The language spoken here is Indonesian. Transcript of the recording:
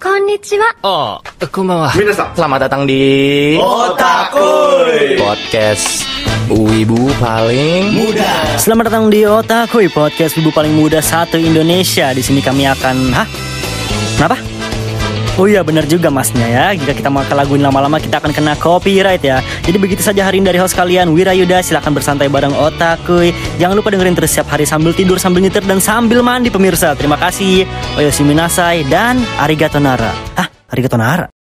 Konnichiwa. Oh, kumawa. Minasang. Selamat datang di Otakui. podcast Wibu paling Muda. Selamat datang di Otakui Podcast Ibu paling muda satu Indonesia. Di sini kami akan hah? Kenapa? Oh iya benar juga masnya ya Jika kita makan lagu ini lama-lama kita akan kena copyright ya Jadi begitu saja hari ini dari host kalian Wirayuda silahkan bersantai bareng Otakui Jangan lupa dengerin terus setiap hari sambil tidur, sambil nyetir, dan sambil mandi pemirsa Terima kasih Oyoshiminasai dan Arigato Nara Hah? Arigato Nara?